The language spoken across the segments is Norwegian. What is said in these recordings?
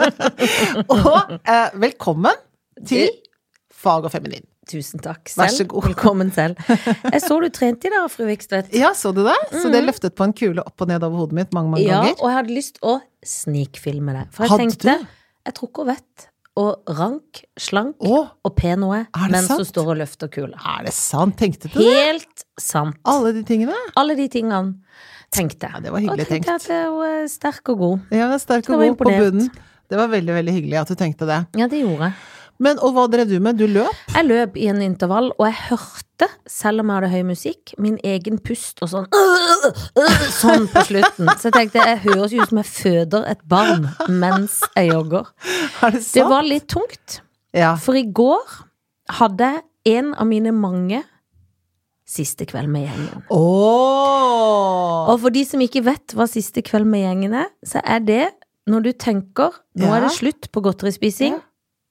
og eh, velkommen til Fag og feminin. Tusen takk selv. Vær så god. Velkommen selv. Jeg så du trente i dag, fru Vikstvedt. Ja, så du det? Så det løftet på en kule opp og ned over hodet mitt mange, mange Mm. Ja, ganger. og jeg hadde lyst å snikfilme det. For jeg Hadde tenkte, du? jeg tror ikke hun vet og rank, slank Å, og pen hun er, Er det mens hun sant? står og løfter kula. er det sant? Tenkte du det? Helt sant. Alle de tingene? Alle de tingene tenkte Ja, jeg. det var hyggelig og tenkte tenkt. at eh, hun er sterk og god. Ja, men sterk Jeg og var god på imponert. bunnen. Det var veldig, veldig hyggelig at du tenkte det. Ja, det gjorde jeg. Men, og hva drev du med? Du løp? Jeg løp i en intervall, og jeg hørte, selv om jeg hadde høy musikk, min egen pust og sånn øh, øh, Sånn på slutten. Så jeg tenkte, jeg høres jo ut som jeg føder et barn mens jeg jogger. Er det sant? Det var litt tungt, Ja. for i går hadde jeg en av mine mange siste kveld med gjengen. Åh! Og for de som ikke vet hva siste kveld med gjengen er, så er det når du tenker Nå er det Ja. slutt på godterispising. Ja.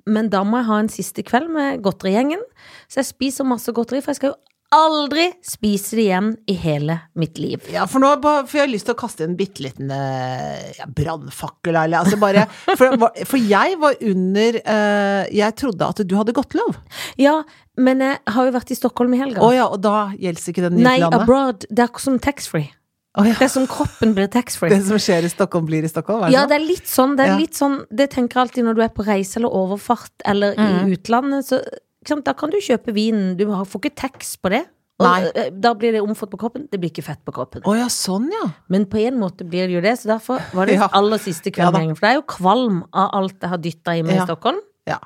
Men da må jeg ha en siste kveld med godterigjengen. Så jeg spiser masse godteri, for jeg skal jo aldri spise det igjen i hele mitt liv. Ja, for nå ba- får jeg lyst til å kaste en bitte liten eh, ja, brannfakkel, eller altså bare For, for jeg var under eh, Jeg trodde at du hadde gått lov. Ja, men jeg har jo vært i Stockholm i helga. Å ja, og da gjelder ikke den Nei, utlandet? abroad. Det er ikke som taxfree. Å ja. Det er som kroppen blir taxfree. Det som skjer i Stockholm, blir i Stockholm? Er det Ja, sånn? det er litt sånn. Det er Ja. litt sånn Det tenker jeg alltid når du er på reise eller overfart eller Mhm. i utlandet. Så, ikke sant? Da kan du kjøpe vinen. Du har- får ikke tax på det. Og, Nei. eh, Da blir det omfatt på kroppen. Det blir ikke fett på kroppen. Å ja, sånn ja. Men på en måte blir det jo det, så derfor var det Ja. aller siste Ja da. kvelden. for det er jo kvalm av alt jeg har dytta i meg Ja. i Stockholm. Ja.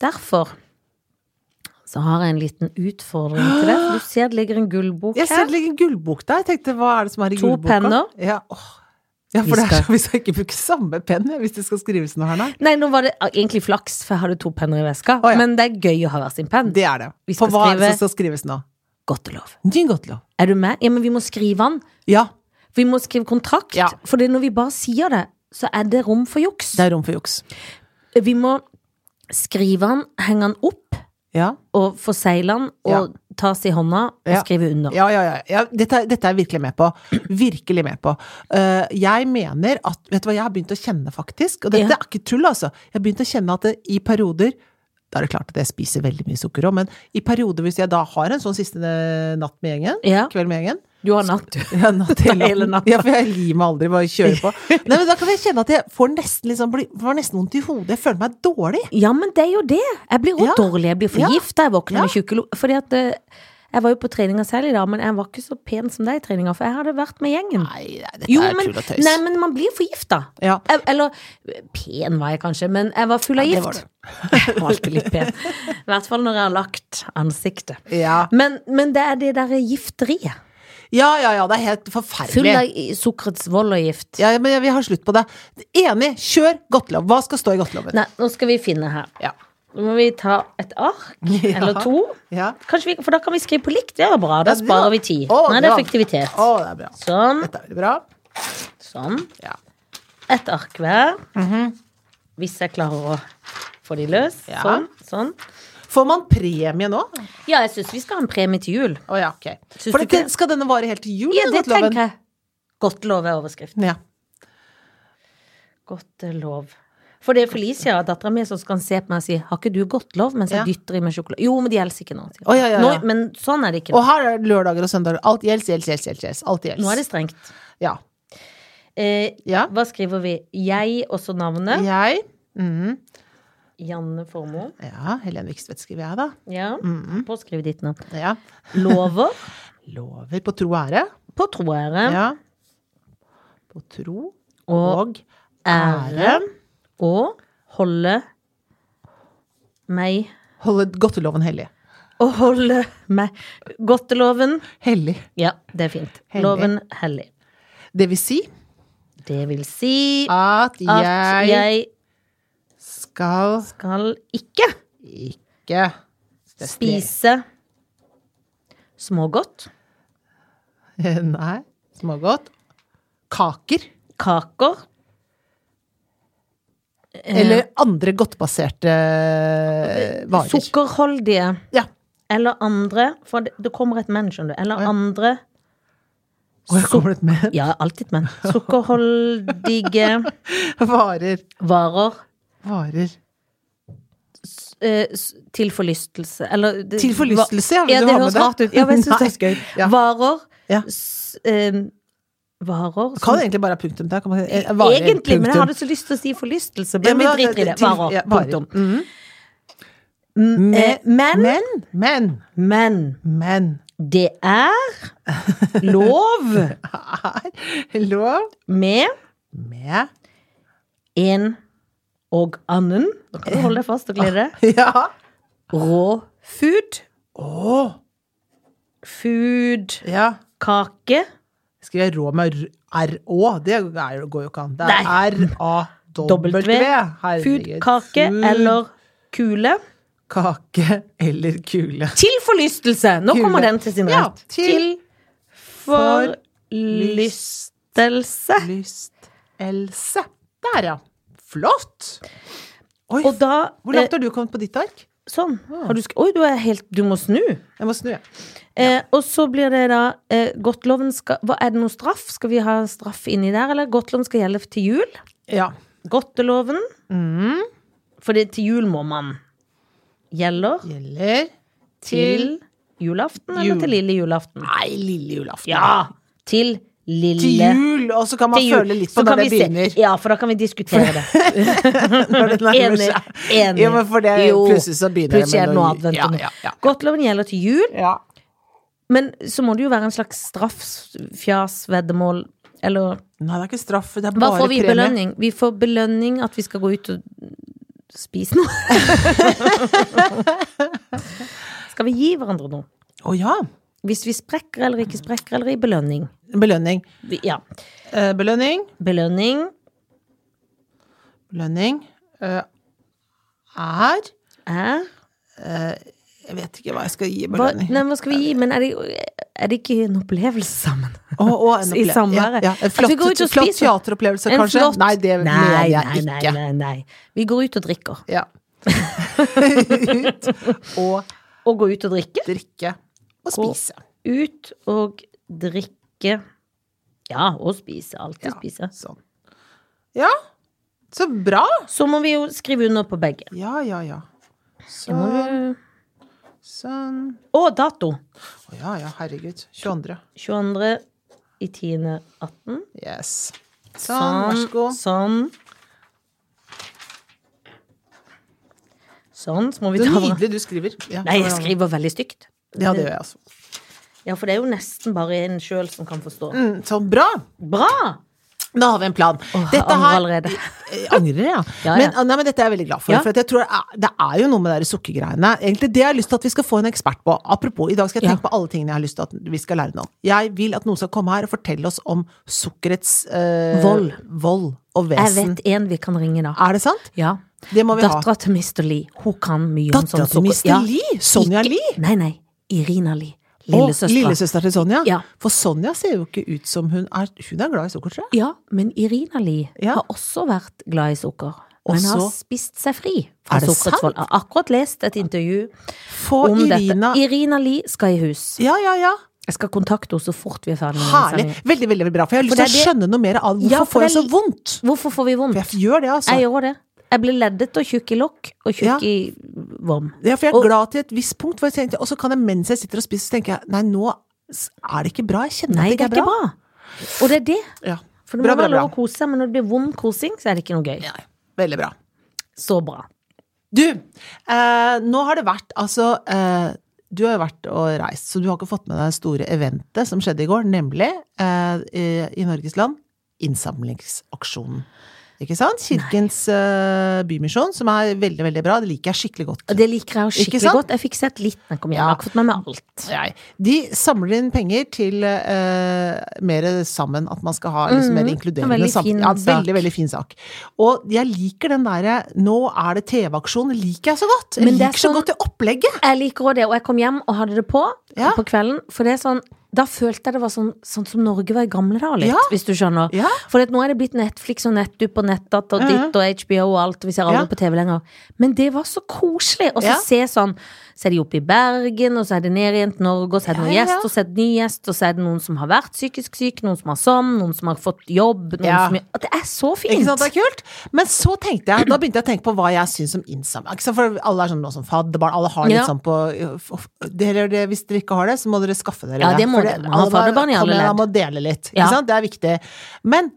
Derfor så har jeg en liten utfordring til deg. for Du ser det ligger en gullbok Jeg ser her. det ligger en gullbok der. Jeg tenkte, hva er det som er i To gullboka? penner. Ja, åh. ja Vi for det er skal- så vi skal ikke bruke samme penn jeg, hvis det skal skrives noe her, nei. Nei, nå var det ah, egentlig flaks, for jeg hadde to penner i veska. Å, ja. Men det er gøy å ha hver sin penn. Det er det. Vi skal For hva er det skrive- som skal skrives nå? Godtelov. Ny godtlov. Er du med? Ja, men vi må skrive den. Ja, Vi må skrive kontrakt. Ja. For det når vi bare sier det, så er det rom for juks. det er rom for juks. Vi må skrive den, henge den opp, Ja. og forsegle den, og tas i hånda, og Ja. skrive under. Ja, ja, ja. ja dette, er- dette er jeg virkelig med på. Virkelig med på. Eh, jeg mener at Vet du hva jeg har begynt å kjenne, faktisk? Og dette Ja. er ikke tull, altså. Jeg har begynt å kjenne at det, i perioder Da er det klart at jeg spiser veldig mye sukker òg, men i perioder hvis jeg da har en sånn siste eh, natt med gjengen, Ja. kveld med gjengen Du har natt, du. ja, natt hele Hele natten. natta. Ja, for jeg gir meg aldri, bare kjører på. Nei, men da kan jeg kjenne at jeg får nesten, liksom, bli- får nesten vondt i hodet. Jeg føler meg dårlig. Ja, men det er jo det. Jeg blir jo Ja. dårlig. Jeg blir Ja. forgifta. Jeg våkner Ja. med tjukke lo... Fordi at eh, jeg var jo på treninga selv i dag, men jeg var ikke så pen som deg i treninga, for jeg hadde vært med gjengen. Nei, dette Jo, er men, tull og tøys. nei, men man blir forgifta. Ja. Jeg- Eller pen var jeg kanskje, men jeg var full av Ja, det var gift. Jeg var alltid litt pen. I hvert fall når jeg har lagt ansiktet. Ja. Men, men det er det derre gifteriet. ja, ja, ja, det er helt forferdelig. Full av i- sukkerets vold og gift. Ja, ja, men jeg vil ha slutt på det. Enig, kjør godtelov. Hva skal stå i godteloven? Nei, nå skal vi finne her. Ja. Nå må vi ta et ark Ja. eller to. Ja. Kanskje vi, for da kan vi skrive på likt. Det er bra. Da Ja, det- sparer vi tid. Å, Nå er det bra. effektivitet. Å, det er bra. Sånn. Dette er veldig bra. sånn. Ja. Et ark hver. Hvis jeg klarer å få de løs. Mhm. Ja. Sånn. sånn. Får man premie nå? Å Ja, jeg syns vi skal ha en premie til jul. ja, ok. Syns For dette, du ikke det? skal denne vare helt til jul? Ja, det godteloven? tenker jeg. Godtelov er overskriften. Ja. Godtelov. For det er Felicia, dattera mi, som skal se på meg og si 'Har ikke du godtelov?' mens jeg Ja. dytter i meg sjokolade. Jo, men de elsker ikke nå. sier hun. Å, ja, ja, ja. nå. Men sånn er det ikke Og nå. her er lørdager og søndager. Alt gjelds, gjelds, gjelds. gjelds, gjelds. Alt gjelds. Nå er det strengt. Ja. Eh, ja. hva skriver vi? Jeg, også navnet. Jeg mhm. Janne Formoe. Ja, Helen Vikstvedt skriver jeg, da. Ja. Påskriv ditt navn. Ja. Lover. Lover på tro og ære. På troere. Ja. På tro Og, og ære. og holde meg Holde godteloven hellig. Å holde meg Godteloven. Hellig. Ja, det er fint. Hellig. Loven hellig. Det vil si Det vil si at at jeg, jeg skal skal ikke ikke spise smågodt, Nei. Smågodt. Kaker. kaker eh, Eller andre godtbaserte eh, varer. Sukkerholdige Ja. eller andre For det, det kommer et men, skjønner du. Eller Å, ja. andre Og jeg kommer litt med Ja, alltid men. Sukkerholdige varer. varer Varer. s- eh, s- til forlystelse. Eller det- Til forlystelse, ja. hva- Vil Ja, du det ha med høres rart ut. Ja, men jeg synes det er Nei. gøy. Ja. Varer Ja. s- eh, Varer Kan som- det egentlig bare ha punktum der? Kan man, eh, varer, Egentlig, men jeg punktum. hadde så lyst til å si forlystelse, men vi Ja, men da- driter i det. til- Varer. ja, Punktum. Mhm. Mm, eh, Men, Men, men, men men det er lov er lov med med en og annen Da kan du holde deg fast og glede Ah. deg. Ja. Rå food. Åh, Food. ja. Kake. Skriver jeg rå med r-å? Det er, går jo ikke an. Det Nei. er r-a-w. Herregud. Food, kake Food, eller kule. Kake eller kule. Til forlystelse! Nå Kule. kommer den til sin Ja, rett. til forlystelse. Lystelse. Der, ja. Flott! Oi, Og da hvor langt har du kommet på ditt ark? Eh, sånn. Har du sk Oi, du er helt Du må snu. Jeg må snu, jeg. Eh, og så blir det da eh, Godtloven skal hva, Er det noe straff? Skal vi ha straff inni der, eller? Godtloven skal gjelde til jul. Ja. Godteloven. Mm. For det til jul må man. Gjelder Gjelder til julaften eller Jul. til lille julaften? Nei, lille julaften. Ja! Til lille Til jul, og så kan man til jul. føle litt på Så kan når det vi se- begynner. Ja, for da kan vi diskutere det. Når det nærmer Enig. seg. enig. Jo, men for det, Jo, plutselig så begynner det plutselig er med det noe noe- advent. Ja, og noe. ja, ja. Godtloven gjelder til jul, Ja. men så må det jo være en slags straff, fjas, veddemål, eller Nei, det er ikke straff, det er Hva bare får vi i premie. belønning? Vi får belønning at vi skal gå ut og spise noe. skal vi gi hverandre noe? Å ja. Hvis vi sprekker eller ikke sprekker, eller i belønning. Belønning. Vi- Ja. Eh, belønning. Belønning Belønning eh, er er Jeg vet ikke hva jeg skal gi i hva, belønning. nei, hva skal vi gi? Men er det, er det ikke en opplevelse sammen? Å, å, en I opple- samværet. Ja, ja. En At vi Flott, går ut og flott spiser. teateropplevelse, En kanskje? flott- Nei, det mener Nei, jeg nei, ikke. Nei, nei, nei. Vi går ut og drikker. Ja. Ut og Og går ut og drikke. drikke og Gå- spise. Ut og drikke. Ja, og spise. Alltid spise. Sånn. Ja, så bra! Så må vi jo skrive under på begge. Ja, ja, ja. Det må Sånn, vi- sånn. Og dato. Å ja, ja, herregud. 22. 22. i 10. 18. Yes. Sånn, vær så god. Sånn. Sånn, så må vi Det ta er hverandre. nydelig du skriver. Ja, Nei, jeg så- skriver veldig stygt. Ja, det gjør jeg altså. Ja, for det er jo nesten bare en sjøl som kan forstå. Mm, så bra! Bra! Da har vi en plan. jeg angrer allerede. Eh, Angrer, ja. Ja, ja. Men, ah, nei, men dette er jeg veldig glad for. Ja. For at jeg tror det er, det er jo noe med de der sukkergreiene. Egentlig det jeg har lyst til at vi skal få en ekspert på. Apropos, i dag skal jeg Ja. tenke på alle tingene jeg har lyst til at vi skal lære noe om. Jeg vil at noen skal komme her og fortelle oss om sukkerets eh, Vold. vold og Jeg vesen. vet en vi kan ringe, da. Er det sant? Ja. Det må vi ha. Dattera til Mr. Lee. Hun kan mye om Dattera sånn til Mr. Ja. Lee? Sonja Ikke- Lie? Nei, nei. Irina Lie. Å, Lillesøstera. Lillesøster til Sonja? Ja. For Sonja ser jo ikke ut som hun er Hun er glad i sukker, tror jeg. Ja, men Irina Lie Ja. har også vært glad i sukker. Men Også- har spist seg fri fra Er det sukkerets sant? vold. Jeg har akkurat lest et intervju Få om Irina dette. Irina Lie skal i hus. Ja, ja, ja. Jeg skal kontakte henne så fort vi er ferdig med denne Herlig. sendingen. Veldig, veldig bra. For jeg har lyst For til det å er skjønne noe mer av hvorfor Ja, for får jeg så det er- vondt. Hvorfor får vi vondt? For jeg gjør det, altså. Jeg gjør det. Jeg blir leddet og tjukk i lokk og tjukk Ja. i vom. Ja, for jeg Og- er glad til et visst punkt, hvor jeg tenkte, og så kan jeg mens jeg sitter og spiser, så tenker jeg nei, nå s- er det ikke bra. Jeg kjenner Nei, at det er det ikke bra. Og det er det. Ja. For det Bra, må bra, være bra. lov å kose seg, men når det blir vond kosing, så er det ikke noe gøy. Nei, veldig bra. Så bra. Du, eh, nå har det vært altså eh, Du har jo vært og reist, så du har ikke fått med deg det store eventet som skjedde i går, nemlig eh, i, i Norges land innsamlingsaksjonen. Ikke sant? Kirkens eh, Bymisjon, som er veldig, veldig bra. Det liker jeg skikkelig godt. Og Det liker jeg jo Ikke skikkelig sant? godt. Jeg fikk sett litt når jeg kom hjem. Jeg har ikke fått med meg alt. Nei. De samler inn penger til eh, mer sammen, at man skal ha liksom, mer inkluderende Mm. En veldig sam- fin ja, sak. Veldig, veldig fin sak. Og jeg liker den derre 'nå er det TV-aksjon', liker jeg så godt. Jeg Men det er liker så sånn- godt det opplegget. Jeg liker også det, og jeg kom hjem og hadde det på Ja. på kvelden. For det er sånn da følte jeg det var sånn, sånn som Norge var i gamle dager, litt, Ja. hvis du skjønner. Ja. Mhm. For at nå er det blitt Netflix og Nettup og Nettatt og ditt og HBO og alt, vi ser Ja. aldri på TV lenger. Men det var så koselig å så Ja. se sånn så er de oppe i Bergen, og så er det ned igjen til Norge, og så er det noen Ja, ja, ja. gjester, og så er det ny gjest, og så er det noen som har vært psykisk syk, noen som har sånn, noen som har fått jobb, noen Ja. som At Det er så fint! Ikke sant, det er kult? Men så tenkte jeg, da begynte jeg å tenke på hva jeg syns om innsamling. Ikke sant, For alle er sånn nå som fadderbarn, alle har litt Ja. sånn på dere, dere, Hvis dere ikke har det, så må dere skaffe dere Ja, det må For dere. Man har alle bare- fadderbarn i alle kom igjen, Man ledd. må dele litt. Ikke Ja. sant? Det er viktig. Men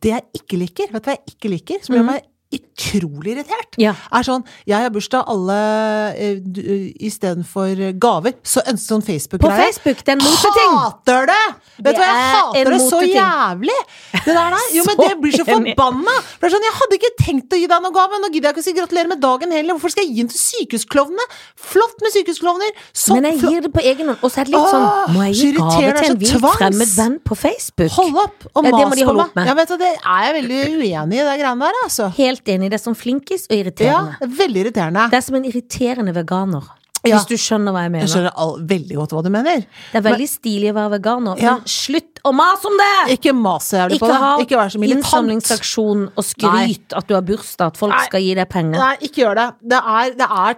det jeg ikke liker, vet du hva jeg ikke liker, som gjør meg utrolig irritert, Mm. Ja. er sånn Jeg har bursdag, alle eh, du- Istedenfor gaver, så ønsker sånn På Facebook-greie. Facebook, det er en moteting! Hater det! Vet du hva, jeg er hater en det så moteting. jævlig! Det der der. Jo, men Så det blir så enig. forbanna! For det er sånn, jeg hadde ikke tenkt å gi deg noen gave, nå gidder jeg ikke å si gratulerer med dagen heller. Hvorfor skal jeg gi den til sykehusklovnene? Flott med sykehusklovner! Så Men jeg flott! gir det på egen hånd. Og så er det litt sånn Sånn, Åh, Må jeg så gi gave irriterende, til en det er så vilt tvangs. fremmed venn på Facebook? Hold opp og Ja, det mas må de på holde opp meg. med. Ja, vet du, det er jeg veldig uenig i, det greiene der, altså. Helt enig. Det er sånn flinkis og Ja, irriterende. veldig irriterende. Det er som en irriterende veganer. Ja. Hvis du skjønner hva Jeg jeg mener. skjønner all, veldig godt hva du mener. Det er veldig stilig å være veganer, Ja. men slutt å mase om det! Ikke mas så jævlig på Ikke det. ha Ikke vær så militant. innsamlingsaksjon og skryt at du har bursdag, at folk Nei. skal gi deg penger. Nei, ikke gjør det. Det er, det er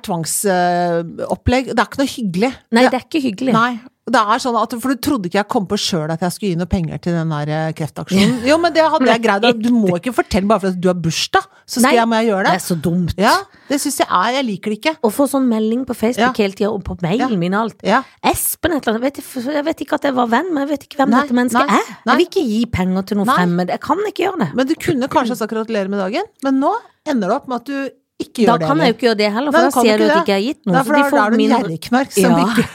tvangsopplegg. det er ikke noe hyggelig. Nei, det er ikke hyggelig. Nei. Det er sånn at, for du trodde ikke jeg kom på sjøl at jeg skulle gi noe penger til den der eh, kreftaksjonen. Jo, men det hadde jeg greid. at Du må ikke fortelle bare for at du har bursdag, så Nei. skal jeg, må jeg gjøre Det det. er så dumt. Ja, det syns jeg er. Jeg liker det ikke. Å få sånn melding på Facebook Ja. hele tida, og på mailen Ja. min og alt. Ja. Espen et eller annet. Vet jeg, jeg vet ikke at jeg var venn, men jeg vet ikke hvem Nei, dette mennesket nei, er. nei. Jeg vil ikke gi penger til noen Nei. fremmed. Jeg kan ikke gjøre det. Men du kunne kanskje sagt gratulerer med dagen, men nå ender det opp med at du ikke Da gjør det. kan jeg jo ikke gjøre det heller, for Nei, du da kan sier du ikke at det. jeg ikke har gitt noe. Nei, så for da de da får er du en mindre- gjerrigknark som Ja. ikke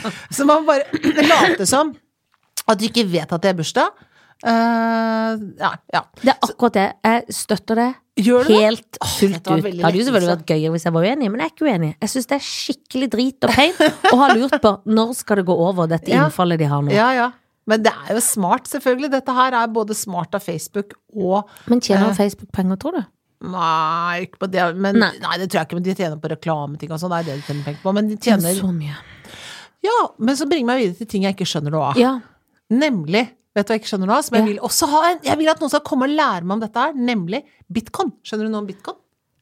Så man bare late som at du ikke vet at det er bursdag. Eh, ja, ja. Det er akkurat det. Jeg støtter det Gjør du det? helt fullt ut. dette var Det veldig hadde jo selvfølgelig lettelse. vært gøyere hvis jeg var uenig, men jeg er ikke uenig. Jeg syns det er skikkelig drit og pein, og har lurt på når skal det gå over, dette Ja. innfallet de har nå. Ja, ja. Men det er jo smart, selvfølgelig. Dette her er både smart av Facebook og Men Eh, tjener Facebook penger, tror du? Nei, ikke på det, men, nei. Nei. det tror jeg ikke, men de tjener på reklameting og sånn. Det er det de tjener penger på. Men de Men tjener Så mye. Ja, men så bringer meg videre til ting jeg ikke skjønner noe av. Ja. Nemlig Vet du hva jeg ikke skjønner noe av? Som jeg Ja. vil også ha en Jeg vil at noen skal komme og lære meg om dette her, nemlig bitcoin. Skjønner du noe om bitcoin?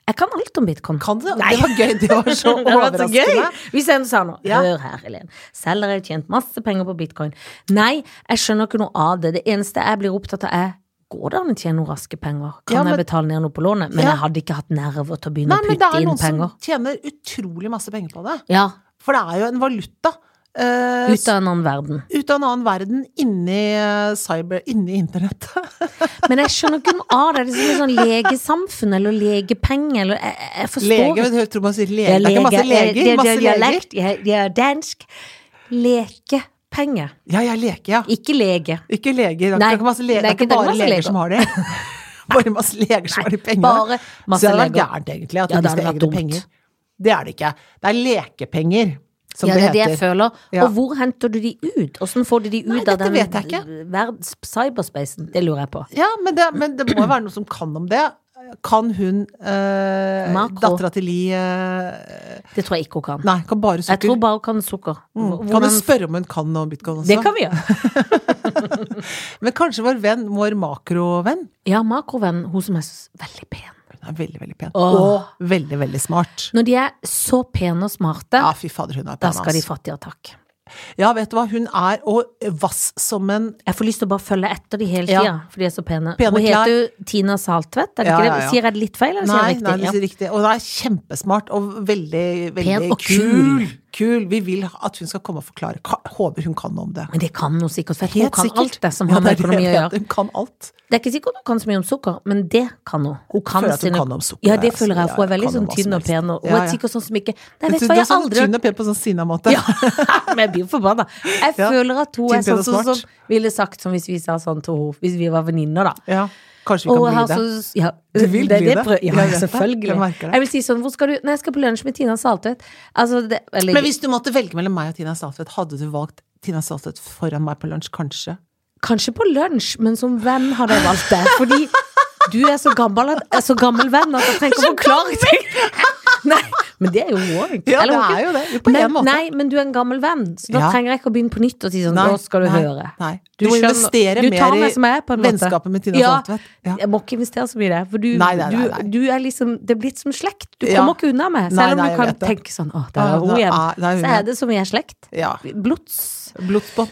Jeg kan alt om bitcoin. Kan du det? Det var gøy. Det var så Det var så gøy! overraskende. Hvis en sa noe. Ja. Hør her, Helen. Selv har jeg tjent masse penger på bitcoin. Nei, jeg skjønner ikke noe av det. Det eneste jeg blir opptatt av, er Går det an å tjene noen raske penger? Kan Ja, men- jeg betale ned noe på lånet? Men Ja. jeg hadde ikke hatt nerver til å begynne Nei, å men det putte er inn noen som penger. tjener utrolig masse penger på det. Ja, For det er jo en valuta. eh, ut av en annen verden. ut av en annen verden inni eh, cyber, inni internett. Men jeg skjønner ikke noe av det. Det er liksom sånn legesamfunn eller legepenge eller Jeg, jeg forstår Lege, ikke. vet du, jeg tror man sier lege. Ja, det er ikke masse lege, leger, eh, det- det er masse leger. dialekt, ja, Det er dansk. Lekepenge. Ja, jeg leker, ja. Ikke lege. Ikke leger. Det Nei, er ikke, masse leger. Det er ikke det er ikke- det er bare masse leger, leger. som har det. Bare masse leger som har de pengene. Bare masse Så det er leger. gærent, egentlig, at Ja, det de hadde skal vært egne dumt. penger. Det er det ikke. Det er lekepenger, som ja, det det er det heter. jeg føler. Ja. Og hvor henter du de ut? Åssen får du de ut Nei, av dette den vet jeg ikke. verdens cyberspacen? Det lurer jeg på. Ja, men det, men det må jo være noe som kan om det. Kan hun eh, Makro. Dattera til Li eh, Det tror jeg ikke hun kan. Nei, kan bare jeg tror sukker. bare hun kan sukker. Kan du Hvordan- spørre om hun kan noe om bitcoin også? det kan vi gjøre. Men kanskje vår venn, vår makrovenn, Ja, makrovenn, hun som er s- veldig pen. hun er veldig, veldig pen. Åh. Og veldig, veldig smart. Når de er så pene og smarte, Ja, fy fader, hun er altså. da pen, skal de ass. fattigere takk. Ja, vet du hva, hun er og vass som en Jeg får lyst til å bare følge etter de hele Ja. tida, for de er så pene. Pene hun klær. heter jo Tina Saltvedt, er det Ja, ikke ja, det? ja. Sier jeg det litt feil, eller sier Nei, jeg nei, riktig? det er riktig. Og hun er kjempesmart og veldig, veldig Pen og kul. Kul. Vi vil at hun skal komme og forklare. Ka- Håper hun kan noe om det. Ja. Men det kan hun sikkert, for jeg tror hun Helt kan sikkert. alt det som Ja, har med det er økonomi å det jeg gjøre. vet. Hun kan alt. Det er ikke sikkert hun kan så mye om sukker, men det kan hun. Hun kan føler at hun sine- kan om sukker, Ja, det altså. føler jeg, for hun er Ja, ja, kan veldig om sånn hva som tynn og helst. pen, og hun Ja, er ja. sikkert sånn som Du ikke Nei, vet du du hva, er jeg sånn aldri tynn og pen på sånn Sina-måte. Ja, men jeg blir jo forbanna. Jeg Ja. føler at hun er Tynn, pen sånn og som, smart. som ville sagt som hvis vi sa sånn til henne, hvis vi var venninner, da. Ja. Kanskje vi Og kan har bli det. så- ja, Du vil det, bli det det. prøv- Jeg Ja, vet det. selvfølgelig. Jeg merker det. Jeg vil si sånn, hvor skal du Nei, jeg skal på lunsj med Tina Saltvedt. Altså, det eller, Men hvis du måtte velge mellom meg og Tina Saltvedt, hadde du valgt Tina Saltvedt foran meg på lunsj, kanskje? Kanskje på lunsj, men som venn hadde jeg valgt det. Fordi du er så gammel, at, er så gammel venn at jeg trenger ikke å forklare ting. Nei, Men det er jo òg Ja, det er jo det. Jo, På Men, en måte. nei, men du er en gammel venn, så da Ja. trenger jeg ikke å begynne på nytt og si sånn Nei, Nå skal du nei, høre. Nei. Du Du, må skjønner- investere du tar mer meg i som jeg er, på en måte. vennskapet med Tina Ja. Saltvedt. Ja. Jeg må ikke investere så mye i det, for du, Nei, nei, nei, nei. du, du er liksom Det er blitt som slekt. Du Ja. kommer ikke unna meg. Nei, Selv om nei, du jeg kan vet det. tenke sånn Å, der er hun Ja, igjen. da er- da er hun Så igjen. er det som vi er slekt. ja. Blods. Blodsbånd.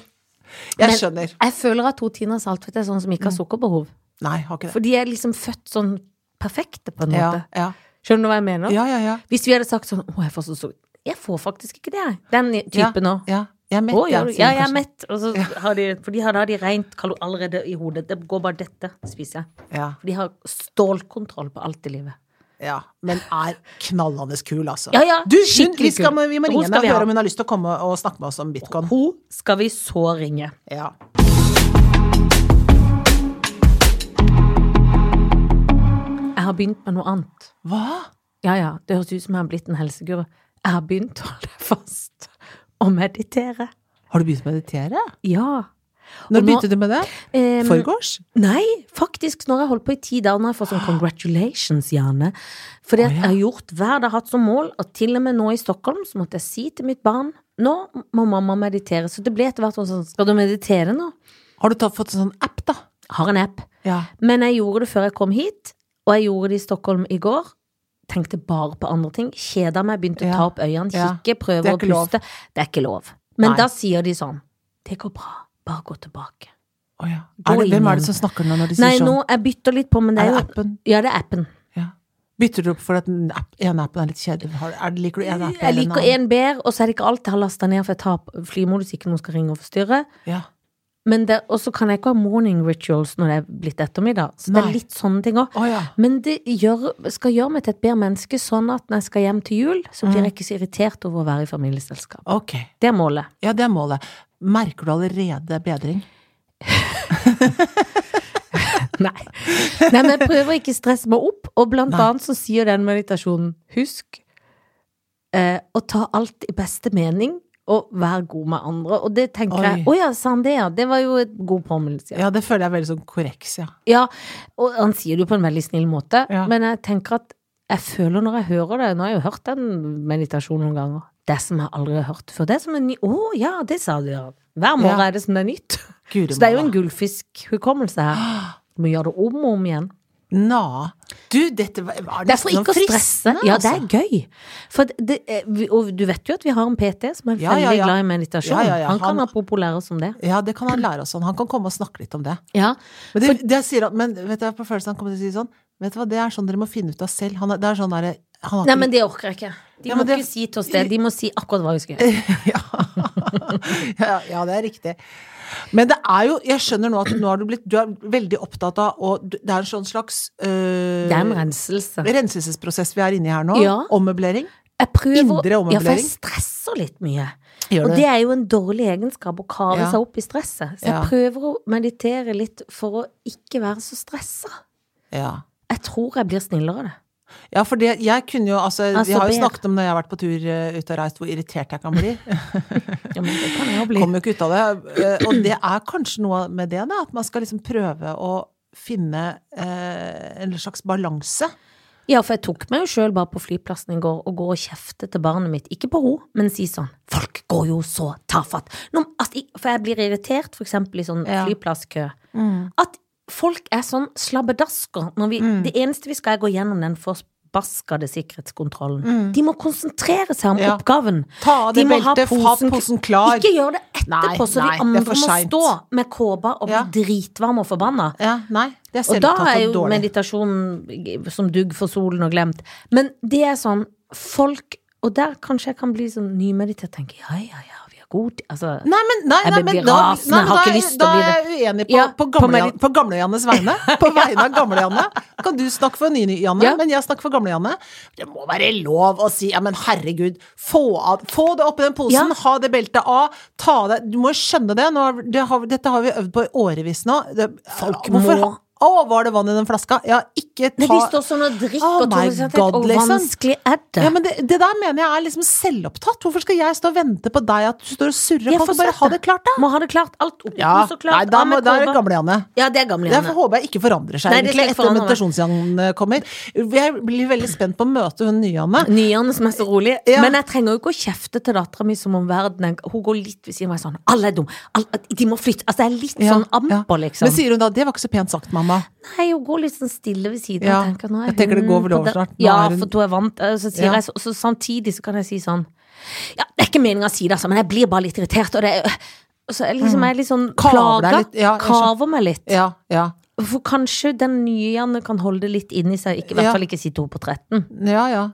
Jeg Men- skjønner. Mm. Jeg føler at hun Tina Saltvedt er sånn som ikke har sukkerbehov. Nei, har ikke det. For de er liksom født sånn perfekte, på en Ja, måte. ja. Skjønner du hva jeg mener? ja, ja. ja. Hvis vi hadde sagt sånn Å, jeg får så sukker Jeg får faktisk ikke det, jeg. Den Ja, typen nå. Ja. Jeg er mett, Å, gjør du? sier Ja, hun jeg er kanskje. mett. Og så har de, for de har, da har de rent kalo- allerede i hodet. Det går bare dette, spiser jeg. Ja, For de har stålkontroll på alt i livet. ja. Men er knallende kul, altså. Ja, ja, Du, hun, skikkelig vi, skal, kul. vi må Hun ringe skal henne og vi ha. høre om hun har lyst til å komme og snakke med oss om bitcoin. Hun skal vi så ringe. Ja. Jeg har begynt med noe annet. Hva? Ja, ja, det høres ut som jeg har blitt en helseguru. Jeg har begynt å holde fast og meditere. Har du begynt å meditere? Ja. Når nå- begynte du med det? Em, Foregårs? Nei, faktisk. Når jeg holdt på i ti dager, når jeg får sånn congratulations, gjerne. Fordi Å, at ja. jeg har gjort hver dag hatt som mål, og til og med nå i Stockholm, så måtte jeg si til mitt barn Nå må mamma meditere. Så det ble etter hvert sånn Skal du meditere nå? Har du tatt, fått en sånn app, da? Har en app. Ja. Men jeg gjorde det før jeg kom hit, og jeg gjorde det i Stockholm i går. Tenkte bare på andre ting. Kjeda meg, begynte Ja. å ta opp øynene, Ja. kikke, Det prøve er å ikke lov. puste. Det er ikke lov. Men Nei. da sier de sånn Det går bra. Bare gå tilbake. Å, ja. Gå Er det, inn hvem er igjen. det som snakker nå når de Nei, sier sånn? nå Jeg bytter litt på, men det er er det jo appen? Ja, det er appen. Ja. Bytter du opp for at den app, en appen er litt kjedelig? Har, er, det- liker du en app Jeg liker en bedre, og så er det ikke alt jeg har lasta ned, for jeg tar på flymodus, ikke noen skal ringe og forstyrre. Ja. Men det- Og så kan jeg ikke ha morning rituals når det er blitt ettermiddag. Så det Nei. er litt sånne ting òg. Å ja. Men det gjør, skal gjøre meg til et bedre menneske, sånn at når jeg skal hjem til jul, så Mm. blir jeg ikke så irritert over å være i familieselskap. Ok. Det er målet. Ja, det er målet. Merker du allerede bedring? Nei. Nei, men jeg prøver å ikke stresse meg opp, og blant Nei. annet så sier den meditasjonen husk eh, å ta alt i beste mening, og vær god med andre. Og det tenker jeg Oi. Å ja, sa han det, ja. Det var jo et god påminnelse. Ja, Ja. det føler jeg er veldig sånn korreks, ja. ja, og han sier det jo på en veldig snill måte, Ja. men jeg tenker at jeg føler når jeg hører det Nå har jeg jo hørt den meditasjonen noen ganger. Det som jeg aldri har hørt før. Det er som en ny Å ja, det sa du, ja. Hver morgen Ja. er det som det er nytt. Guri Så det er jo malla. en gullfiskhukommelse her. Du må gjøre det om og om igjen. Nå. Du, dette var var Det er for nesten sånn ikke å fristende, stresse. Ja, det altså. er gøy. For det, eh, vi- og du vet jo at vi har en PT som er Ja, veldig ja, ja. glad i meditasjon. Ja, ja, ja. Han kan Han- apropos lære oss om det. Ja, det kan han lære oss. om. Han kan komme og snakke litt om det. Ja. Men, det, det sier han, men vet du, hva, på følelsen han kommer til å si sånn Vet du hva, det er sånn dere må finne ut av selv. Han er, det er sånn derre han har Nei, ikke- men det orker jeg ikke. De Ja, må men det- ikke si til oss det. De må si akkurat hva vi skal gjøre. ja, ja, det er riktig. Men det er jo Jeg skjønner nå at nå har du blitt Du er veldig opptatt av å du- Det er en sånn slags øh, Det er en renselse. renselsesprosess vi er inne i her nå. Ja. Ommøblering. Jeg prøver Indre Ja, for jeg ommøblering. stresser litt mye. Gjør Og det. det er jo en dårlig egenskap å kave Ja. seg opp i stresset. Så jeg Ja. prøver å meditere litt for å ikke være så stressa. Ja. Jeg tror jeg blir snillere av det. Ja, for det, jeg kunne jo, altså, Altså, Vi har jo det- snakket om når jeg har vært på tur eh, ut og reist, hvor irritert jeg kan bli. Ja, men det kan jeg jo bli. Kommer jo ikke ut av det. Eh, Og det er kanskje noe med det, da, at man skal liksom prøve å finne eh, en slags balanse. Ja, for jeg tok meg jo sjøl bare på flyplassen i går og går og kjefter til barnet mitt. Ikke på henne, men si sånn Folk går jo så tafatt. Nå, altså, i- for jeg blir irritert, for eksempel i sånn Ja. flyplasskø. At folk er sånn slabbedasker når vi Mm. Det eneste vi skal, er å gå gjennom den forbaskede sikkerhetskontrollen. De må konsentrere seg om Mm. Ja. oppgaven. Ta av De det må ha beltet, ha posen- posen klar. Ikke gjør det etterpå, Nei, så nei, det de er andre for må seint. stå med kåpa og bli Ja. dritvarme og forbanna. Ja, nei, det er Og da selvtatt er og jo dårlig. meditasjonen som dugg for solen og glemt. Men det er sånn folk Og der kanskje jeg kan bli sånn nymeditert og tenke ja, ja, ja, vi er gode altså, Nei, men, nei, Jeg nei, blir men da, rasende, nei, men jeg har da ikke er- lyst til da å bli er jeg uenig på, Ja, på, på gamle, medi- på gamle-Jannes vegne. På vegne av gamle-Janne. Kan du snakke for nye-Janne, Ja. men jeg snakker for gamle-Janne. Det må være lov å si ja, men herregud, få, av, få det oppi den posen, Ja. ha det beltet av, ta det Du må jo skjønne det. Nå, har- det har, dette har vi øvd på i årevis nå. Det, Folk Hvorfor- må Å, var det vann i den flaska? Ja, ikke ta Men de står sånn og drikker Oh og tror my sånn, God, og liksom. vanskelig er det? Ja, men det, det der mener jeg er liksom selvopptatt. Hvorfor skal jeg stå og vente på deg at du står og surrer Jeg på? får Bare sett ha det klart, da. Må ha det klart. Alt opp, Ja. så klart. Nei, da av må, med da er det kåpa. gamle-Janne. Ja, det er gamle Jeg Janne. håper jeg ikke forandrer seg Nei, det skal egentlig ikke etter forandre meg. meditasjons-Janne kommer. Jeg blir veldig spent på å møte hun nye Janne. Nyene som er så rolig. Ja. Men jeg trenger jo ikke å kjefte til dattera mi som om verden er Hun går litt ved siden av meg sånn Alle er dum. Alle, de må flytte. Altså, jeg er litt Ja, sånn amper, ja. liksom. Men sier hun da 'det var ikke så pent sagt, mamma'? Nei, hun går litt sånn stille ved siden. Ja. Jeg tenker, nå er Jeg tenker det hun går vel på over det- snart. Nå Ja, er hun- for hun er vant. Eh, Så, sier Ja. jeg, så, så samtidig så kan jeg si sånn Ja, det er ikke meninga å si det, altså, men jeg blir bare litt irritert, og det er så jeg liksom er litt Mm. sånn Kaver deg plaga. litt, ja, jeg skjønner. kaver meg litt. Ja, ja. For kanskje den nye Janne kan holde det litt inni seg, ikke, i hvert Ja. fall ikke si to på 13. Ja, ja.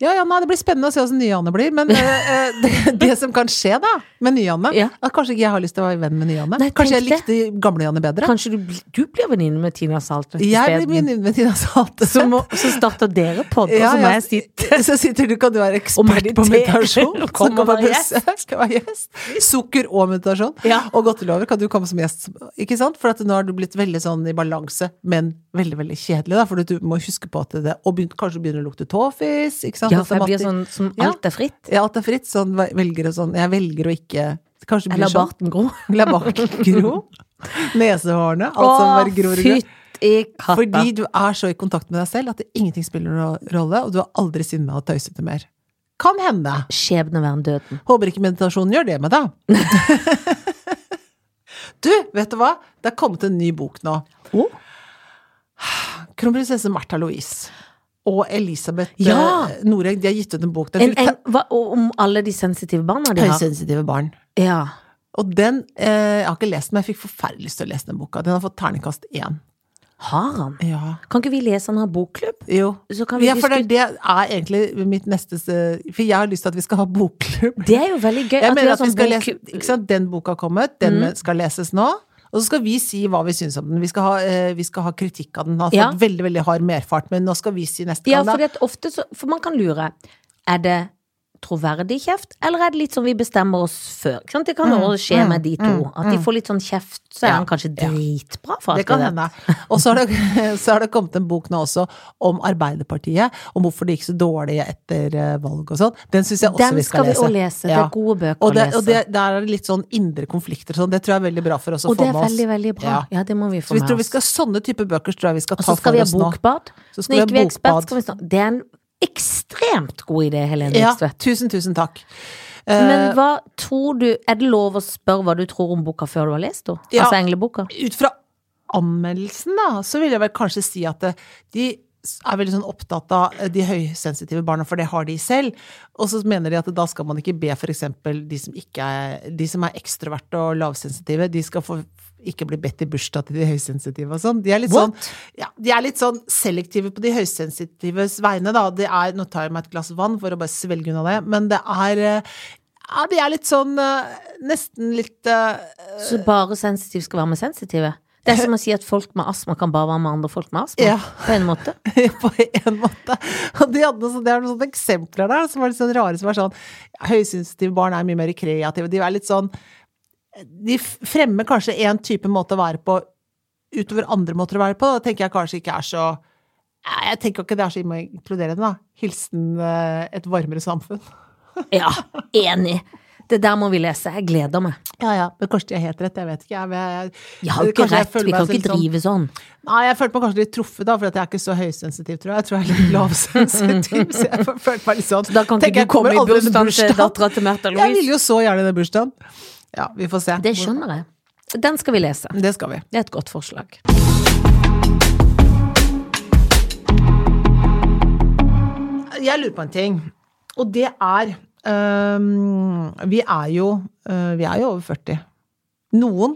Ja, ja, nei, Det blir spennende å se hvordan nye Anne blir. Men eh, eh, det, det som kan skje da, med nye Anne Ja. at Kanskje ikke jeg har lyst til å være venn med nye Anne. Nei, Kanskje jeg tenk likte gamle Anne bedre. Kanskje du, bli- du blir venninne med Tina Saltvedt Jeg blir isteden. venninne med Tina Sate. Så, må- så starter dere pod, Ja, og så må ja, jeg si Så sitter du, kan du være Og ekspert på meditere. meditasjon. Så Kom kan og du være gjest. besøke- Skal være gjest. Sukker og meditasjon. Ja. Og godtelover kan du komme som gjest. Ikke sant? For at nå har du blitt veldig sånn i balanse, men veldig veldig kjedelig. Da, for du må huske på at det Og begynt, kanskje begynner å lukte tåfis. Ikke sant? Ja, At for jeg det- blir sånn som Ja. alt er fritt. Ja, alt er fritt. Sånn ve- velger og sånn. Jeg velger å ikke Kanskje blir Eller sånn. barten gro. La barten gro. Nesehårene. Alt som bare Å, gror og gror. fytti katta. Fordi du er så i kontakt med deg selv at det ingenting spiller noen rolle, og du er aldri sinna og tøysete mer. Kan hende. Skjebne være en døden. Håper ikke meditasjonen gjør det med deg. du, vet du hva? Det er kommet en ny bok nå. Oh. Kronprinsesse Märtha Louise og Elisabeth Ja. eh, Noreng. De har gitt ut en bok. Det En, er en, hva, og om alle de sensitive barna de har? høysensitive barn. Ja. Og den eh, Jeg har ikke lest den, men jeg fikk forferdelig lyst til å lese den boka. Den har fått terningkast én. Har han? Ja. Kan ikke vi lese han har bokklubb? Jo. Så kan vi Ja, for det, diskutere. det er egentlig mitt neste se- For jeg har lyst til at vi skal ha bokklubb. Det er jo veldig gøy. Jeg vi mener har at vi sånn skal lese bokklubb. Mm. ikke sant? Den boka har kommet, den skal leses nå. Og så skal vi si hva vi syns om den. Vi skal ha, eh, vi skal ha kritikk av den. Den har fått Ja. veldig veldig hard merfart, men nå skal vi si neste Ja, gang. fordi Da. at ofte så For man kan lure. Er det troverdig kjeft, eller er det litt sånn vi bestemmer oss før? Ikke sant? Det Mm, kan jo også skje med de to. At de får litt sånn kjeft, så er Ja. han kanskje dritbra for alt Det kan vi vet. hende. Og så har, det, så har det kommet en bok nå også om Arbeiderpartiet, om hvorfor det gikk så dårlig etter eh, valg og sånn. Den syns jeg også Den vi skal, skal vi lese. også lese. Det Ja. er gode bøker Og, det, å lese. og det, der er det litt sånn indre konflikter og sånn. Det tror jeg er veldig bra for oss å Og det få er med oss. veldig, veldig bra. Ja. Ja, det må vi Så få vi med tror vi oss. skal Sånne type bøker tror jeg vi skal Og ta så for skal vi ha oss nå. bokbad. Så skal Nå vi ha gikk vi ekspert, bokbad. skal vi snakke Det er en ekstremt god idé, Helene Ja, eh, Vikstvedt. tusen, tusen takk. Men hva tror du Er det lov å spørre hva du tror om boka før du har lest henne? Ja. Altså engleboka? Ut fra anmeldelsen, da, så vil jeg vel kanskje si at eh, de er veldig sånn opptatt av eh, de høysensitive barna, for det har de selv. Og så mener de at da skal man ikke be f.eks. de som ikke er de som er ekstroverte og lavsensitive, de skal få ikke bli bedt i bursdag til de høysensitive og sånn. De er litt What? sånn ja, de er litt sånn selektive på de høysensitives vegne, da. Det er, nå tar jeg meg et glass vann for å bare svelge unna det, men det er eh, ja, de er litt sånn eh, Nesten litt eh, Så bare sensitiv skal være med sensitive? Det er som å si at folk med astma kan bare være med andre folk med astma. Ja. På en måte. på en måte. Og de hadde noe sånt- det er noen sånne eksempler der som var litt sånn rare, som var sånn Høysensitive barn er mye mer kreative. De er litt sånn De f- fremmer kanskje én type måte å være på utover andre måter å være på. Da tenker jeg kanskje ikke er så Nei, Jeg tenker ikke det er så inkluderende, da. Hilsen eh, et varmere samfunn. Ja, enig. Det der må vi lese. Jeg gleder meg. Ja ja, men kanskje de har helt rett, jeg vet ikke. Jeg, men jeg, Jeg har jo ikke kanskje jeg rett. føler Vi meg kan selv ikke drive sånn. Nei, jeg følte meg kanskje litt truffet, da, for at jeg er ikke så høysensitiv, tror jeg. Jeg tror jeg er litt lavsensitiv, så jeg følte meg litt sånn. Da kan Tenker ikke jeg du komme kommer i aldri til bursdagen til bursdagen. dattera til Märtha Jeg vil Louise. jo så gjerne den bursdagen. Ja, vi får se. Det skjønner jeg. Den skal vi lese. Det skal vi. Det er et godt forslag. Jeg lurer på en ting, og det er øhm, Vi er jo øh, Vi er jo over 40. Noen,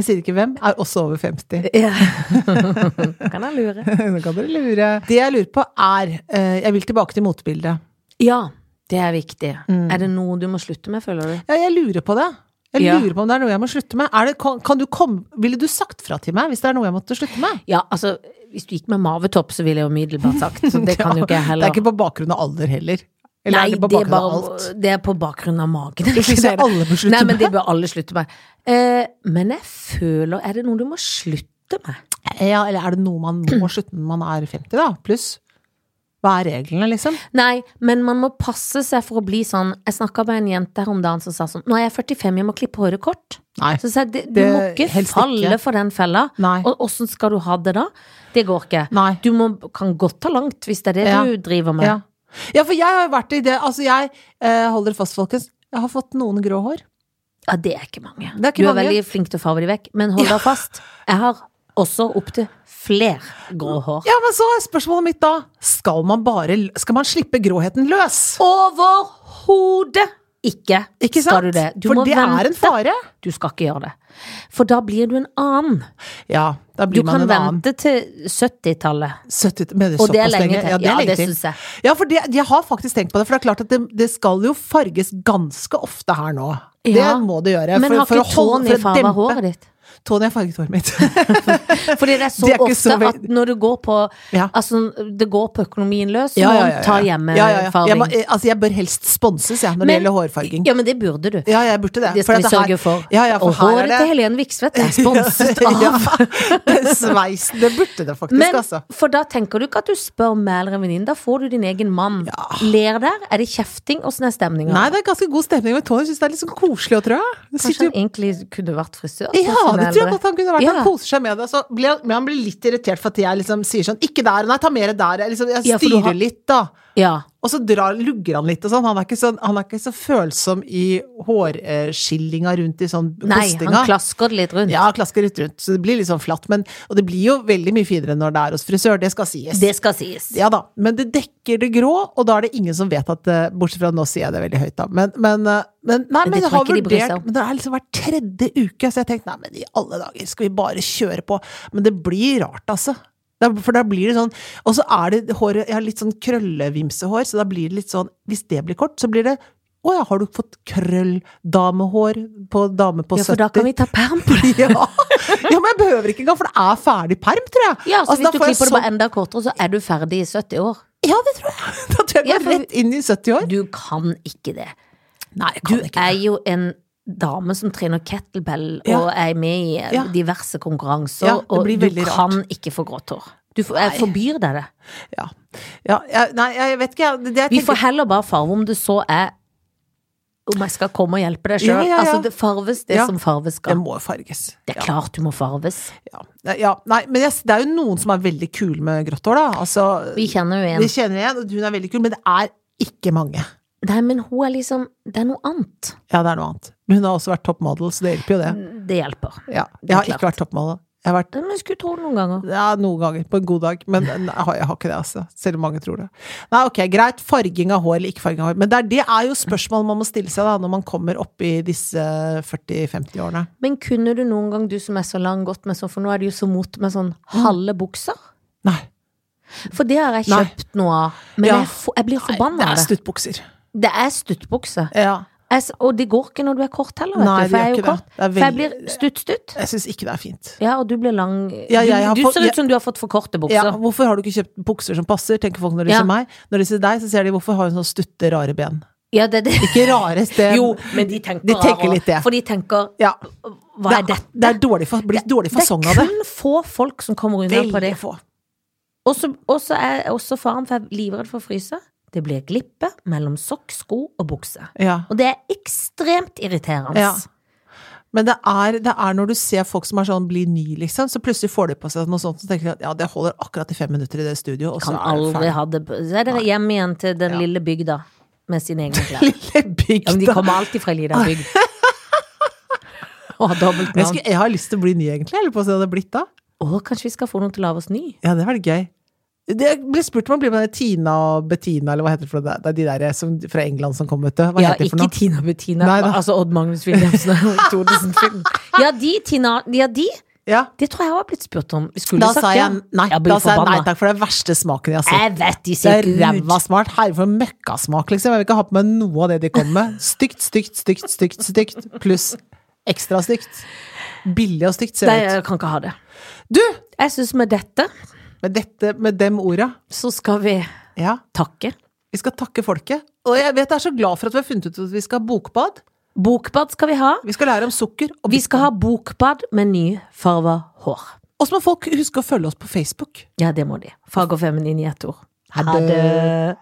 jeg sier ikke hvem, er også over 50. kan jeg lure. Nå kan dere lure. Det jeg lurer på, er øh, Jeg vil tilbake til motebildet. Ja, det er viktig. Er det noe du må slutte med, føler du? Ja, jeg lurer på det. Jeg Ja. lurer på om det er noe jeg må slutte med. Er det, kan, kan du komme, ville du sagt fra til meg hvis det er noe jeg måtte slutte med? Ja, altså, hvis du gikk med mavetopp, så ville jeg jo umiddelbart sagt. Så det kan jo ikke Det jeg er heller. ikke på bakgrunn av alder heller. Eller Nei, er det på bakgrunn av alt? det er på bakgrunn av magen. Det synes jeg alle bør slutte Nei, men med. det bør alle slutte med. Eh, men jeg føler Er det noe du må slutte med? Ja, eller er det noe man må slutte når man er 50, da? Pluss? Hva er reglene, liksom? Nei, men man må passe seg for å bli sånn Jeg snakka med en jente her om dagen som sa sånn Nå er jeg 45, jeg må klippe håret kort. Nei. Så sa jeg, det- du Det- må ikke helst falle ikke. for den fella. Nei. Og åssen skal du ha det da? Det går ikke. Nei. Du må, kan godt ta langt, hvis det er det Ja. du driver med. Ja. ja, for jeg har jo vært i det Altså, jeg eh, holder fast, folkens. Jeg har fått noen grå hår. Ja, det er ikke mange. Det er ikke du er mange. veldig flink til å farge de vekk, men hold deg fast. Jeg har også opptil flere grå hår. Ja, men så er spørsmålet mitt da Skal man bare Skal man slippe gråheten løs? Overhodet ikke, Ikke sant? skal du det. Du for må det vente. er en fare. Du skal ikke gjøre det. For da blir du en annen. Ja, da Du blir man kan en annen. vente til 70-tallet. 70, men det er Og det er såpass lenge til. Ja, det, Ja, er lenge det til. synes jeg. Ja, for det, jeg har faktisk tenkt på det. For det er klart at det, det skal jo farges ganske ofte her nå. Det Ja. må det gjøre. Men for, har for ikke å holde- Tony for å farga dempe- håret ditt? Tony har farget håret mitt. Fordi det er så Det er ikke så ofte veld- at når du går på Ja. Altså, det går på økonomien løs, så Ja, må ja, ja, man ja. Ja, ja, ja. ta Jeg, hjemmefarging. må, eh, altså, jeg bør helst sponses, jeg, når det Men- gjelder hårfarging. Ja, men det burde du. Ja, jeg burde det. Det For skal vi at her- sørge for. Ja, ja, for og her er håret det- til Helen Viksvedt er sponset av ja, det sveisen. Det burde det faktisk, Men, altså. for da tenker du ikke at du spør meg eller en venninne, da får du din egen mann. Ler der? Er det kjefting? Åssen er stemninga? Nei, det er ganske god stemning med Tony. Syns det er litt sånn koselig å trå. Kanskje han egentlig kunne vært frisør? Ja, sånn som det tror jeg eldre. godt han kunne vært. Ja. Han koser seg med det. Så blir han, men han blir litt irritert for at jeg liksom sier sånn Ikke der, nei, ta mer der. Jeg, liksom, jeg Ja, for du styrer har- litt, da. Ja. Og så drar, lugger han litt og sånn. Han er ikke, sånn, han er ikke så følsom i hårskillinga rundt i sånn Nei, han kostinga. klasker det litt rundt. Ja, klasker litt rundt, så det blir litt sånn flatt. Men, og det blir jo veldig mye finere når det er hos frisør, det skal sies. Det skal sies. Ja da, men det dekker det grå, og da er det ingen som vet at det Bortsett fra nå sier jeg det veldig høyt, da. Men, men, eh, men, nei, men, det jeg har tror jeg ikke de bryr seg vurdert om. Men det er liksom hver tredje uke, så jeg tenkte nei, men i alle dager, skal vi bare kjøre på? Men det blir rart, altså. Da- For da blir det sånn Og så er det håret Jeg har litt sånn krøllevimsehår, så da blir det litt sånn Hvis det blir kort, så blir det Å ja, har du fått krølldamehår på dame på Ja, 70? for da kan vi ta perm på det. ja. ja, men jeg behøver ikke engang, for det er ferdig perm, tror jeg. Ja, så Altså, da hvis du får jeg klipper det så- bare enda kortere, så er du ferdig i 70 år. Ja, det tror jeg. Da tror jeg Ja, jeg går for- rett inn i 70 år. Du kan ikke det. Nei, jeg Du kan ikke er det. jo en dame som trener kettlebell Ja. og er med i eh, Ja. diverse konkurranser, Ja, det og blir du veldig rart. kan ikke få grått hår. Du får, jeg forbyr deg det. Ja. Ja, jeg, nei, jeg vet ikke, jeg. Det, det jeg Vi tenker- får heller bare farve om det så er om jeg skal komme og hjelpe deg sjøl. Ja, ja, ja. Altså, det farves det Ja. som farves det skal. må farges. Det er klart du må farves. Ja. Nei, ja. Nei, men jeg, det er jo noen som er veldig kule med grått hår, da. Altså, Vi kjenner jo vi en. kjenner igjen, og hun er veldig kul, men det er ikke mange. Nei, men hun er liksom Det er noe annet. Ja, det er noe annet. Men hun har også vært toppmodell, så det hjelper jo det. Det hjelper. Ja. Jeg Det er har ikke klart. vært toppmodell. Jeg har vært Men jeg skulle tro det noen ganger. ja, noen ganger, på en god dag, men nei, jeg har- jeg har ikke det, altså. Selv om mange tror det. Nei, ok, greit, farging av hår eller ikke farging av hår, men det er, det er jo spørsmål man må stille seg da, når man kommer opp i disse 40-50-årene. Men kunne du noen gang, du som er så lang, gått med sånn, for nå er det jo så mot med sånn halve bukser? Nei. For det har jeg Nei. kjøpt noe av. Men Ja. jeg, får- jeg blir forbanna Nei, av det er det. stuttbukser. Det er stuttbukse. Ja. Jeg s- Og det går ikke når du er kort heller, vet Nei, du. For det jeg er jo gjør ikke kort. det. Det er For jeg veldig- blir stutt-stutt. Jeg syns ikke det er fint. Ja, og du blir lang. Ja, jeg har du, du fått- ser jeg- ut som du har fått for korte Ja, bukser. hvorfor har du ikke kjøpt bukser som passer, tenker folk når de Ja. ser meg. Når de ser deg, så ser de hvorfor har hun sånn stutte, rare ben. Ja, det, det. Ikke rare sted. Jo, men de tenker, De tenker rarere. litt det. For de tenker Ja. hva er det, dette? det er dårlig, fa- blir dårlig fasong av det det. er kun få folk som kommer unna på det. Veldig få. Og så og så er jeg også faren for jeg er livredd for å fryse. Det blir glippe mellom sokk, sko og bukse. Ja. Og det er ekstremt irriterende. Ja. Men det er, det er når du ser folk som er sånn blir ny, liksom, så plutselig får de på seg noe sånt, så tenker de at ja, det holder akkurat i fem minutter i det studioet, og så Kan er det aldri ferdig. ha det Så er dere hjemme igjen til den Ja. lille bygda med sine egne klær. Lille bygda. Ja, men de kommer alltid fra ei lita bygd. Og har dobbelt jeg, navn. skulle, jeg har lyst til å bli ny, egentlig. Jeg lurer på hvordan det hadde blitt da. Å, kanskje vi skal få noen til å lage oss ny? Ja, det var det gøy. Det jeg ble spurt om å bli med den Tina og Bettina, eller hva heter det for noe? Det er de der som, fra England som kom, vet du. Hva Ja, heter de ikke for noe? Tina Bettina. Nei da. altså Odd Magnus Williamsen og Thodesen-film. Ja, de, Tina. Ja, de. Ja. Det tror jeg har blitt spurt om. Vi skulle Da sagt sa jeg nei, Jeg da blir sa jeg nei forbanna. takk, for det er verste smaken jeg har sett. Jeg vet de Det ser er ikke ut. ræva smart. Herre, for en møkkasmak, liksom. Jeg vil ikke ha på meg noe av det de kommer med. Stygt, stygt, stygt, stygt, stygt. Pluss ekstra stygt. Billig og stygt, ser Nei, det ut. jeg kan ikke ha det. Du! Jeg syns med dette Med dette, med dem orda. så skal vi Ja. takke. Vi skal takke folket. Og jeg vet jeg er så glad for at vi har funnet ut at vi skal ha bokbad. Bokbad skal vi ha. Vi skal lære om sukker. Og Vi skal ha bokbad med nyfarva hår. Og så må folk huske å følge oss på Facebook. Ja, det må de. Fag og feminin i ett ord. Ha Ha det. det.